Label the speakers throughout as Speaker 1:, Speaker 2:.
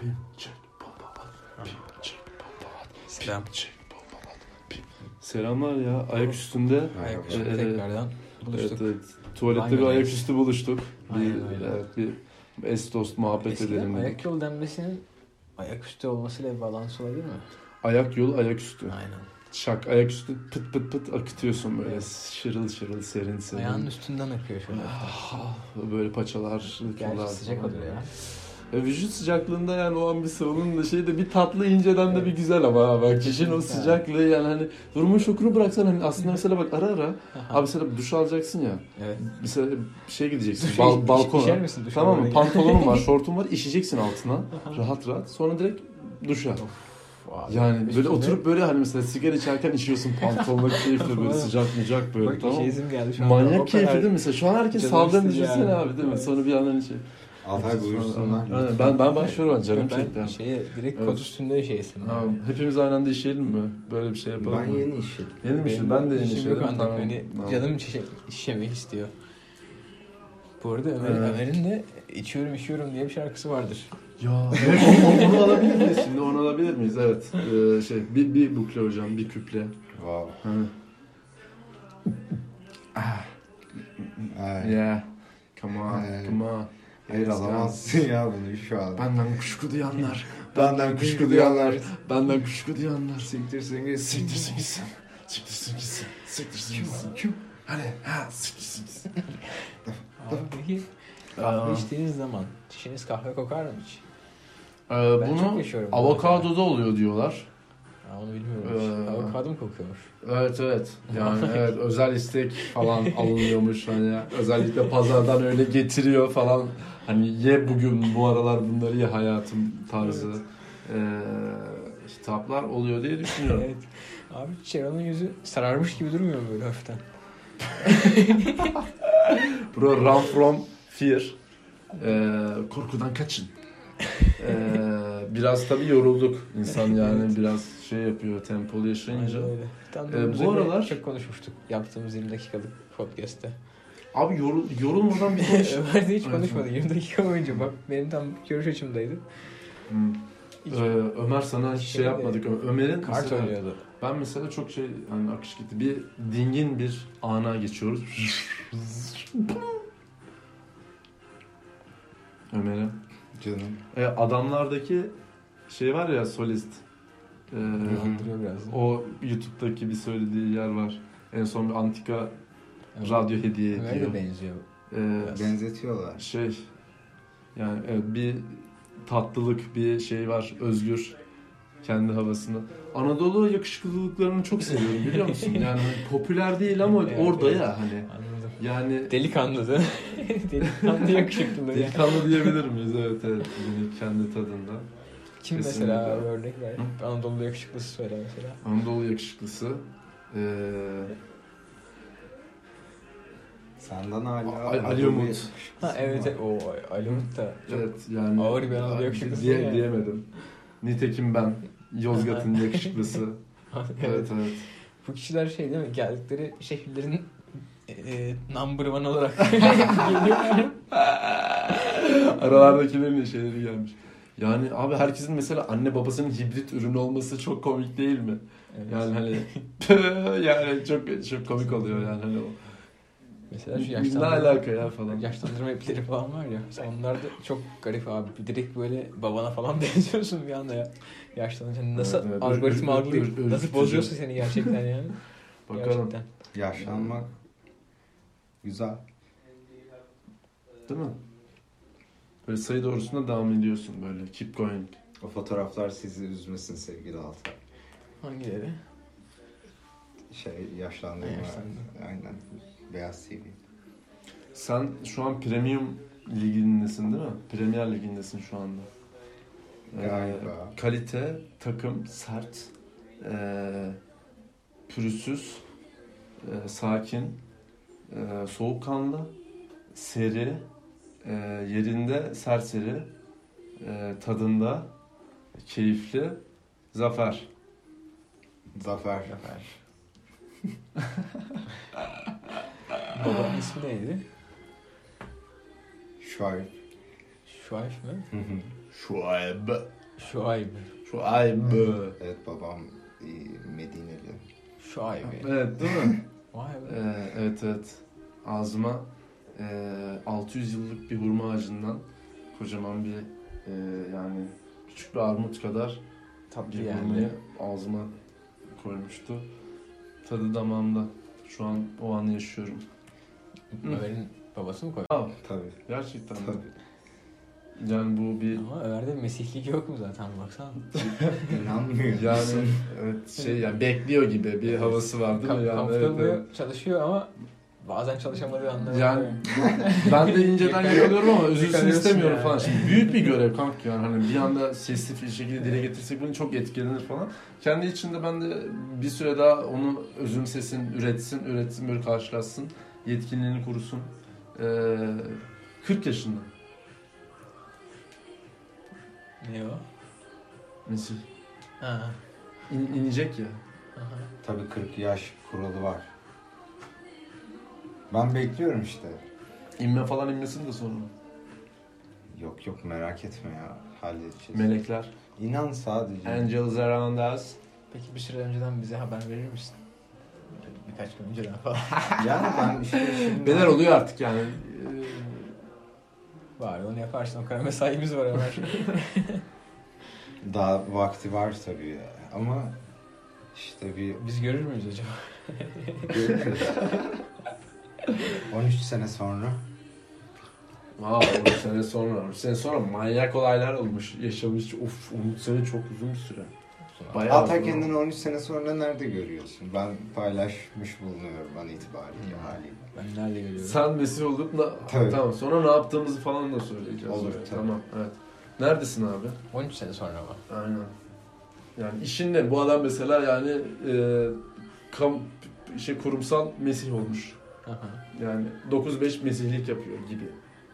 Speaker 1: Pinçik babalat, pinçik babalat, pinçik babalat, pin- Selamlar ya ayak üstünde.
Speaker 2: Ayak
Speaker 1: Ee,
Speaker 2: üstü tekrardan
Speaker 1: Evet,
Speaker 2: buluştuk.
Speaker 1: evet. Tuvalette bir
Speaker 2: Banyoda.
Speaker 1: ayak üstü buluştuk. Bir,
Speaker 2: Aynen öyle.
Speaker 1: evet, bir es dost muhabbet
Speaker 2: Eskiden
Speaker 1: edelim dedik.
Speaker 2: ayak yol denmesinin ayak üstü olmasıyla bir balans olabilir mi?
Speaker 1: Ayak yol ayak üstü.
Speaker 2: Aynen.
Speaker 1: Şak ayak üstü pıt pıt pıt akıtıyorsun böyle.
Speaker 2: Evet.
Speaker 1: Şırıl şırıl serin serin.
Speaker 2: Ayağının üstünden akıyor şöyle.
Speaker 1: Ah, böyle paçalar.
Speaker 2: Gerçi
Speaker 1: kıllar
Speaker 2: sıcak
Speaker 1: falan.
Speaker 2: oluyor ya.
Speaker 1: E, vücut sıcaklığında yani o an bir sıvının da şey de bir tatlı inceden de bir güzel ama ha, bak kişinin o
Speaker 2: Yani.
Speaker 1: sıcaklığı yani hani durumun şokunu bıraksan hani aslında mesela bak ara ara abi mesela duş alacaksın ya
Speaker 2: Evet.
Speaker 1: mesela şey gideceksin
Speaker 2: Duşa
Speaker 1: bal,
Speaker 2: iş-
Speaker 1: balkona
Speaker 2: işer misin duşa
Speaker 1: tamam mı
Speaker 2: oraya?
Speaker 1: pantolonun var şortun var işeyeceksin altına rahat rahat sonra direkt duşa yani böyle
Speaker 2: Üstüne-
Speaker 1: oturup böyle hani mesela sigara içerken işiyorsun pantolonla keyifle böyle sıcak sıcak böyle
Speaker 2: Bak
Speaker 1: tamam
Speaker 2: işe
Speaker 1: mı?
Speaker 2: izin geldi şu anda. O
Speaker 1: Manyak
Speaker 2: kadar-
Speaker 1: keyifli değil mi? Mesela şu an herkes
Speaker 2: Canım
Speaker 1: saldığını
Speaker 2: istedi
Speaker 1: düşünsene
Speaker 2: yani.
Speaker 1: abi değil mi?
Speaker 2: Evet.
Speaker 1: Sonra bir yandan şey.
Speaker 3: Altay buyursun lan.
Speaker 1: Aynen, ben ben başlıyorum canım
Speaker 2: Ben
Speaker 1: çekti.
Speaker 2: şeye direkt
Speaker 1: Evet.
Speaker 2: kod üstünde şey istedim.
Speaker 1: Tamam. Hepimiz aynı anda işeyelim mi? Böyle bir şey yapalım
Speaker 3: Ben
Speaker 1: mı?
Speaker 3: yeni işim.
Speaker 1: Yeni mi işeyelim? Ben de yeni
Speaker 2: işim
Speaker 1: işeyelim.
Speaker 2: yok ancak
Speaker 1: Tamam.
Speaker 2: hani
Speaker 1: Tamam.
Speaker 2: canım şişe, şişemek istiyor. Bu arada Ömer,
Speaker 1: Evet.
Speaker 2: Ömer'in de içiyorum içiyorum diye bir şarkısı vardır.
Speaker 1: Ya evet, onu, onu alabilir miyiz şimdi? Onu alabilir miyiz? Evet. Ee, şey bir, bir bukle hocam, bir küple.
Speaker 3: Wow.
Speaker 1: Ha.
Speaker 3: Ay.
Speaker 1: Yeah. Come on,
Speaker 3: Evet.
Speaker 1: come on.
Speaker 3: Hayır alamazsın ya bunu şu an.
Speaker 1: Benden kuşku duyanlar,
Speaker 3: Benden kuşku duyanlar.
Speaker 1: benden kuşku duyanlar.
Speaker 3: Siktirsin gitsin.
Speaker 1: Siktirsin gitsin. Siktirsin gitsin. Siktirsin gitsin. Hani ha siktirsin gitsin.
Speaker 2: Abi peki kahve içtiğiniz zaman dişiniz kahve kokar mı hiç?
Speaker 1: Ee,
Speaker 2: Ben çok
Speaker 1: bunu
Speaker 2: yaşıyorum. bu arada.
Speaker 1: avokadoda oluyor diyorlar.
Speaker 2: Ha, onu bilmiyorum. hiç.
Speaker 1: Ee,
Speaker 2: Avokado mu kokuyormuş?
Speaker 1: Evet evet. Yani evet özel istek falan alınıyormuş hani özellikle pazardan öyle getiriyor falan. Hani ye bugün bu aralar bunları ye hayatım tarzı eee, hitaplar oluyor diye düşünüyorum.
Speaker 2: Evet. Abi Çeran'ın yüzü sararmış gibi durmuyor mu böyle hafiften?
Speaker 1: Bro run from fear. Eee, korkudan kaçın. Eee, biraz tabii yorulduk. İnsan yani biraz şey yapıyor tempolu yaşayınca.
Speaker 2: Aynen öyle. Tam da
Speaker 1: Ee, bu
Speaker 2: üzerine
Speaker 1: aralar-
Speaker 2: çok konuşmuştuk yaptığımız 20 dakikalık podcast'te.
Speaker 1: Abi yorul, yorulmadan bir şey- konuş.
Speaker 2: Ömer de hiç
Speaker 1: Evet.
Speaker 2: konuşmadı 20 dakika boyunca. Bak benim tam görüş açımdaydı.
Speaker 1: Hmm.
Speaker 2: Hiç-
Speaker 1: Ee, Ömer sana şey yapmadık. ama Ömer'in
Speaker 2: Kart
Speaker 1: mesela-
Speaker 2: oynuyordu.
Speaker 1: Ben mesela çok şey hani akış gitti. Bir dingin bir ana geçiyoruz. Ömer'e.
Speaker 3: Canım.
Speaker 1: E, adamlardaki şey var ya solist. E,
Speaker 2: Rahatlıyor biraz.
Speaker 1: o YouTube'daki bir söylediği yer var. En son bir antika
Speaker 2: Evet.
Speaker 1: radyo hediye
Speaker 2: Ömer'e de
Speaker 1: ediyor.
Speaker 2: benziyor.
Speaker 1: E,
Speaker 3: Benzetiyorlar.
Speaker 1: şey yani evet, bir tatlılık bir şey var özgür kendi havasını. Anadolu yakışıklılıklarını çok seviyorum biliyor musun? Yani hani popüler değil ama
Speaker 2: Evet,
Speaker 1: orada
Speaker 2: evet.
Speaker 1: ya hani.
Speaker 2: Anladım.
Speaker 1: Yani
Speaker 2: Delikanlı da. Delikanlı yakışıklılığı. ya.
Speaker 1: delikanlı diyebilir miyiz? Evet evet. Yani kendi tadında.
Speaker 2: Kim
Speaker 1: Kesinlikle.
Speaker 2: mesela bir örnek ver. Anadolu yakışıklısı söyle mesela.
Speaker 1: Anadolu yakışıklısı. Ee,
Speaker 3: Senden hala.
Speaker 1: A- Ali Umut.
Speaker 2: Ha evet. evet. O Ali Umut da çok
Speaker 1: Evet yani.
Speaker 2: ağır bir Anadolu yakışıklısı
Speaker 1: Diye,
Speaker 2: ya.
Speaker 1: Diyemedim. Nitekim ben. Yozgat'ın yakışıklısı.
Speaker 2: evet.
Speaker 1: Evet evet.
Speaker 2: Bu kişiler şey değil mi? Geldikleri şehirlerin e, e, number one olarak geliyor.
Speaker 1: Aralardakilerin de şeyleri gelmiş. Yani abi herkesin mesela anne babasının hibrit ürünü olması çok komik değil mi?
Speaker 2: Evet.
Speaker 1: Yani hani yani çok çok komik oluyor yani hani o.
Speaker 2: Mesela şu
Speaker 1: Ne
Speaker 2: yaşlandırma,
Speaker 1: alaka ya falan.
Speaker 2: yaşlandırma ipleri falan var ya. Mesela onlar da çok garip abi. Direkt böyle babana falan benziyorsun bir anda ya. Yaşlanınca nasıl
Speaker 1: Evet, evet.
Speaker 2: algoritma
Speaker 1: Ür- ür-
Speaker 2: algılayıp
Speaker 1: ür- ür-
Speaker 2: nasıl
Speaker 1: ürkütücü.
Speaker 2: bozuyorsa seni gerçekten yani.
Speaker 1: Bakalım.
Speaker 2: Gerçekten.
Speaker 3: Yaşlanmak. Güzel.
Speaker 1: Değil mi? Böyle sayı doğrusuna devam ediyorsun böyle. Keep going.
Speaker 3: O fotoğraflar sizi üzmesin sevgili Altay.
Speaker 2: Hangileri?
Speaker 3: Şey yaşlandırma.
Speaker 2: Yaşlandı.
Speaker 3: Aynen. Beyaz TV.
Speaker 1: Sen şu an premium ligindesin değil mi? Premier ligindesin şu anda. Ee,
Speaker 3: Galiba.
Speaker 1: kalite, takım, sert, ee, pürüzsüz, ee, sakin, ee, soğukkanlı, seri, ee, yerinde serseri, ee, tadında, keyifli, zafer.
Speaker 3: Zafer.
Speaker 2: Babanın ismi neydi?
Speaker 3: Şuayb.
Speaker 2: Şuayf mı?
Speaker 1: Şuayb.
Speaker 2: Şuayb.
Speaker 1: Şuayb.
Speaker 3: Evet babam e, Medineli.
Speaker 2: Şuayb.
Speaker 1: Evet değil mi?
Speaker 2: Vay be.
Speaker 1: Ee, evet evet. Ağzıma ee, 600 yıllık bir hurma ağacından kocaman bir ee, yani küçük bir armut kadar
Speaker 2: Tatlı
Speaker 1: bir
Speaker 2: yani.
Speaker 1: hurmayı ağzıma koymuştu. Tadı damağımda. Şu an o anı yaşıyorum.
Speaker 2: Ömer'in babası mı koydu?
Speaker 1: Aa,
Speaker 3: Tabii.
Speaker 1: gerçekten. de.
Speaker 3: Tabii.
Speaker 1: Yani bu bir
Speaker 2: Ama Ömer'de mesihlik yok mu zaten baksana.
Speaker 3: İnanmıyor
Speaker 1: yani
Speaker 3: musun?
Speaker 1: evet, şey yani bekliyor gibi bir havası var değil
Speaker 2: Ka-
Speaker 1: mi? Yani, evet,
Speaker 2: kaptırmıyor, çalışıyor ama bazen çalışamadığı anlar
Speaker 1: evet.
Speaker 2: var.
Speaker 1: yani ben de inceden yakalıyorum ama üzülsün
Speaker 2: Yakalıyorsun
Speaker 1: istemiyorum
Speaker 2: yani.
Speaker 1: falan. Şimdi büyük bir görev kanka yani hani bir anda sesli bir şekilde dile getirsek bunu çok etkilenir falan. Kendi içinde ben de bir süre daha onu özümsesin, üretsin, üretsin böyle karşılaşsın. Yetkinliğini kurusun. Ee, 40 yaşında.
Speaker 2: Ne o?
Speaker 1: Mesih.
Speaker 2: Ha.
Speaker 1: İn, inecek ya.
Speaker 2: aha.
Speaker 3: Tabii 40 yaş kuralı var. Ben bekliyorum işte.
Speaker 1: İnme falan inmesin de sonra.
Speaker 3: Yok yok merak etme ya. Halledeceğiz.
Speaker 1: Melekler.
Speaker 3: İnan sadece.
Speaker 1: Angels around us.
Speaker 2: Peki bir süre önceden bize haber verir misin? Birkaç gün önceden falan.
Speaker 3: Yani ben işte şimdi...
Speaker 1: Neler oluyor artık yani. Ee,
Speaker 2: Var onu yaparsın o kadar mesaimiz var Ömer.
Speaker 3: Daha vakti var tabii ya. Ama işte bir
Speaker 2: Biz görür müyüz acaba?
Speaker 3: 13 sene sonra
Speaker 1: Wow, 13 sene sonra. 13 sene sonra manyak olaylar olmuş. Yaşamış. Of 13 sene çok uzun bir süre. Bayağı
Speaker 3: hatta
Speaker 1: uzun.
Speaker 3: kendini 13 sene sonra nerede görüyorsun? Ben paylaşmış bulunuyorum an itibariyle
Speaker 2: Hmm.
Speaker 3: haliyle.
Speaker 2: Ben nerede görüyorum?
Speaker 1: Sen mesih olduk. da-
Speaker 3: Tabii.
Speaker 1: Tamam sonra ne yaptığımızı falan da söyleyeceğiz.
Speaker 3: Olur,
Speaker 1: Evet,
Speaker 3: tabii.
Speaker 1: Tamam evet. Neredesin abi?
Speaker 2: 13 sene sonra mı?
Speaker 1: Aynen. Yani işin ne? Bu adam mesela yani e, kam, şey, kurumsal mesih olmuş.
Speaker 2: Aha.
Speaker 1: Yani 9-5 mesihlik yapıyor gibi.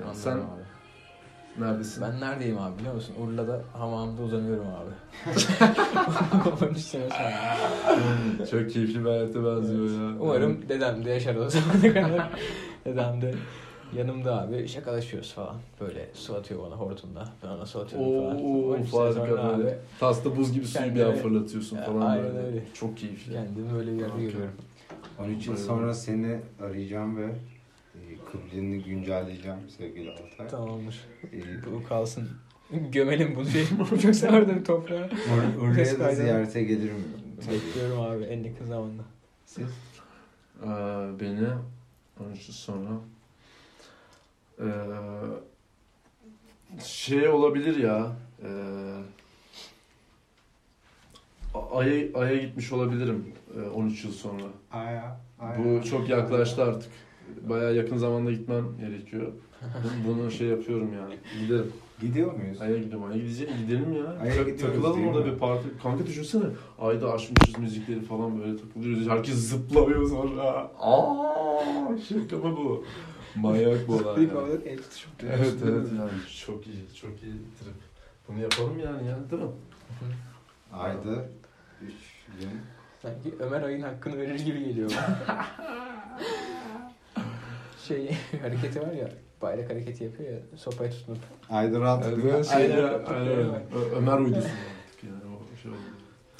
Speaker 1: Yani
Speaker 2: Anladım
Speaker 1: sen
Speaker 2: abi.
Speaker 1: neredesin?
Speaker 2: Ben neredeyim abi biliyor musun? Urla'da hamamda uzanıyorum abi. 13 sene sonra.
Speaker 1: Çok keyifli bir hayata benziyor ya.
Speaker 2: Umarım dedem de yaşar o zamana kadar. dedem de yanımda abi şakalaşıyoruz falan. Böyle su atıyor bana hortumda. Ben ona su atıyorum falan.
Speaker 1: Oo,
Speaker 2: 13 sene sonra
Speaker 1: harika böyle. Tasta buz gibi suyu bir
Speaker 2: Kendine-
Speaker 1: an fırlatıyorsun
Speaker 2: Ya,
Speaker 1: falan
Speaker 2: aynen
Speaker 1: böyle.
Speaker 2: öyle.
Speaker 1: Çok keyifli.
Speaker 2: Kendimi böyle bir yerde
Speaker 1: Okey.
Speaker 2: görüyorum.
Speaker 3: 13 yıl sonra seni arayacağım ve e, kıbleni güncelleyeceğim sevgili Altay.
Speaker 2: Tamamdır.
Speaker 3: E,
Speaker 2: Bu kalsın. Gömelim bunu şey. Çok severdim toprağa.
Speaker 3: Ur- Urla'ya da
Speaker 2: Kaydı.
Speaker 3: ziyarete gelir miyim? Tabii.
Speaker 2: Bekliyorum abi en yakın zamanda.
Speaker 3: Siz?
Speaker 1: Ee, beni 13 yıl sonra ee, şey olabilir ya ee, A- Ay'a, Ay'a gitmiş olabilirim ee, 13 yıl sonra.
Speaker 3: Aya, aya.
Speaker 1: Bu çok yaklaştı artık. Bayağı yakın zamanda gitmem gerekiyor. Bunu şey yapıyorum yani. Giderim.
Speaker 3: Gidiyor muyuz?
Speaker 1: Ay'a gidiyorum. Ay'a gideceğim. Gidelim ya.
Speaker 3: Ay'a
Speaker 1: Tak-
Speaker 3: gidiyoruz
Speaker 1: takılalım
Speaker 3: değil
Speaker 1: orada
Speaker 3: mi?
Speaker 1: bir parti. Kanka düşünsene. Ayda açmışız müzikleri falan böyle takılıyoruz. Herkes zıplamıyor sonra. Aa, şaka mı bu? Manyak bu olay.
Speaker 2: Zıplayıp
Speaker 1: ya.
Speaker 2: havada el tutuşup
Speaker 1: Evet
Speaker 2: duruyorsun, değil
Speaker 1: evet
Speaker 2: mi?
Speaker 1: yani çok iyi çok iyi trip. Bunu yapalım yani ya değil mi?
Speaker 3: Ayda 3 gün.
Speaker 2: Sanki Ömer ayın hakkını verir gibi geliyor bana. şey hareketi var ya bayrak hareketi yapıyor ya sopayı tutunup.
Speaker 3: Ayda rahat.
Speaker 1: Ben şey
Speaker 2: Aynen.
Speaker 1: ya, aynen öyle. Ö- Ömer uydusu artık yani o şey oldu.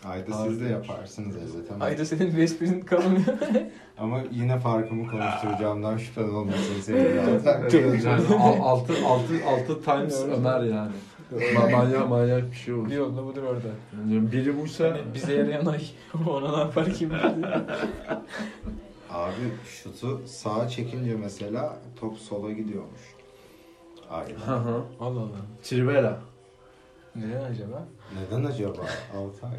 Speaker 3: Ayda siz
Speaker 1: Harika.
Speaker 3: de yaparsınız elbet ama.
Speaker 2: Ayda senin bir esprin kalmıyor.
Speaker 3: Ama yine farkımı
Speaker 1: Ah.
Speaker 3: konuşturacağımdan şüphen olmasın sevgili Altay.
Speaker 1: Evet, yani al- altı, altı, altı times Ömer yani. Ma- manyak manyak bir şey oldu.
Speaker 2: bir yolda budur orada.
Speaker 1: Yani biri
Speaker 3: Hani
Speaker 1: buysa
Speaker 2: Yani bize yarayan ay ona ne yapar kim bilir.
Speaker 3: Abi şutu sağa çekince mesela top sola gidiyormuş.
Speaker 1: Hı
Speaker 3: Ayda.
Speaker 1: hı.
Speaker 2: Allah Allah.
Speaker 1: Trivela.
Speaker 2: Neden acaba?
Speaker 3: Neden acaba Altay?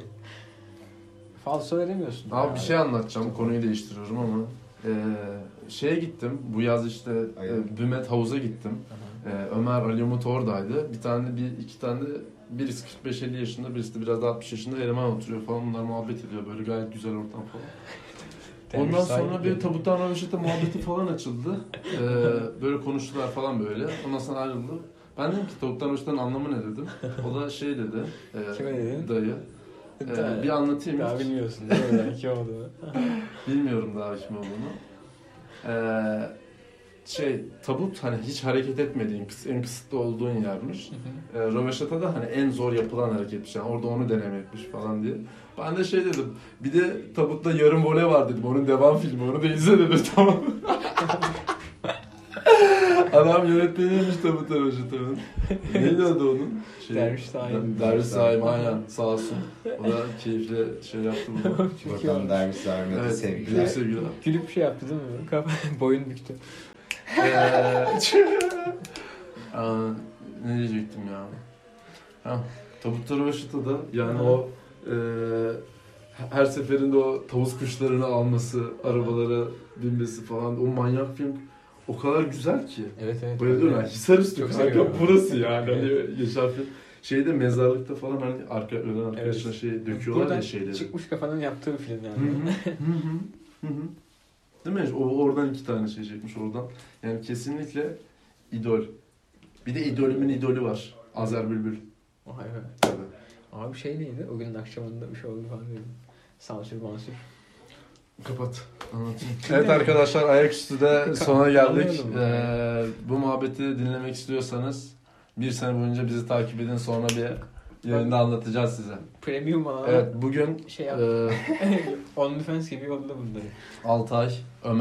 Speaker 2: Falso veremiyorsun.
Speaker 1: Abi bir şey anlatacağım. Konuyu değiştiriyorum ama. Ee, şeye gittim. Bu yaz işte
Speaker 3: Aynen.
Speaker 1: e, Bümet Havuz'a gittim. Ee, Ömer Ali Umut oradaydı. Bir tane bir iki tane de birisi 45-50 yaşında, birisi de biraz daha 60 yaşında eleman oturuyor falan. Bunlar muhabbet ediyor. Böyle gayet güzel ortam falan. Ondan sonra bir tabuttan Röveşat'a muhabbeti falan açıldı. Ee, böyle konuştular falan böyle. Ondan sonra ayrıldı. Ben dedim ki tabuttan Röveşat'ın anlamı ne dedim. O da şey dedi. e,
Speaker 2: Kime dedin?
Speaker 1: Dayı. Ee, bir anlatayım.
Speaker 2: Daha bilmiyorsun değil mi? Belki oldu.
Speaker 1: Bilmiyorum daha kim olduğunu. Ee, şey tabut hani hiç hareket etmediğin kıs- en kısıtlı olduğun yermiş. E, Röveşata da hani en zor yapılan hareketmiş. Yani orada onu denemekmiş falan diye. Ben de şey dedim. Bir de tabutta yarım voley var dedim. Onun devam filmi. Onu da izle dedim tamam. Adam yönetmeniymiş tabut Röveşata'nın. Neydi adı onun?
Speaker 2: Derviş Saim.
Speaker 1: Der- Derviş Saim aynen sağ olsun. O da keyifle şey yaptı bunu.
Speaker 2: Çok iyi
Speaker 3: Buradan
Speaker 2: olmuş.
Speaker 3: derviş Ahmet'e
Speaker 1: evet, sevgiler.
Speaker 3: sevgiler.
Speaker 1: sevgiler.
Speaker 2: Gülüp şey yaptı değil mi? Kafa- Boyun büktü.
Speaker 1: Ee, Aa, ne diyecektim ya? Ha, tabutları başıta da yani
Speaker 2: Hı.
Speaker 1: o e, her seferinde o tavus kuşlarını alması, arabalara binmesi falan o manyak film o kadar güzel ki.
Speaker 2: Evet evet.
Speaker 1: Bayılıyorum ben. şey Hisar üstü
Speaker 2: Çok
Speaker 1: kanka
Speaker 2: seviyorum.
Speaker 1: burası yani.
Speaker 2: Evet.
Speaker 1: Hani Yaşar Film- Şeyde mezarlıkta falan hani arka, ölen arkadaşına
Speaker 2: Evet.
Speaker 1: şey döküyorlar
Speaker 2: Buradan
Speaker 1: ya şeyleri.
Speaker 2: çıkmış kafanın yaptığı film
Speaker 1: Hı
Speaker 2: yani.
Speaker 1: hı, hı hı, hı hı. Değil mi? O, oradan iki tane şey çekmiş oradan. Yani kesinlikle idol. Bir de idolümün idolü var. Azer Bülbül.
Speaker 2: Vay be.
Speaker 1: Tabii.
Speaker 2: Abi şey neydi? O günün akşamında bir şey oldu falan dedim. Sansür mansür.
Speaker 1: Kapat. Anlatayım. Evet arkadaşlar ayaküstü de sona geldik.
Speaker 2: Anlıyorum.
Speaker 1: Ee, bu muhabbeti dinlemek istiyorsanız bir sene boyunca bizi takip edin sonra bir yayında anlatacağız size.
Speaker 2: Premium alanı
Speaker 1: Evet bugün
Speaker 2: şey yap.
Speaker 1: e,
Speaker 2: OnlyFans gibi yolladı bunları.
Speaker 1: Altay, Ömer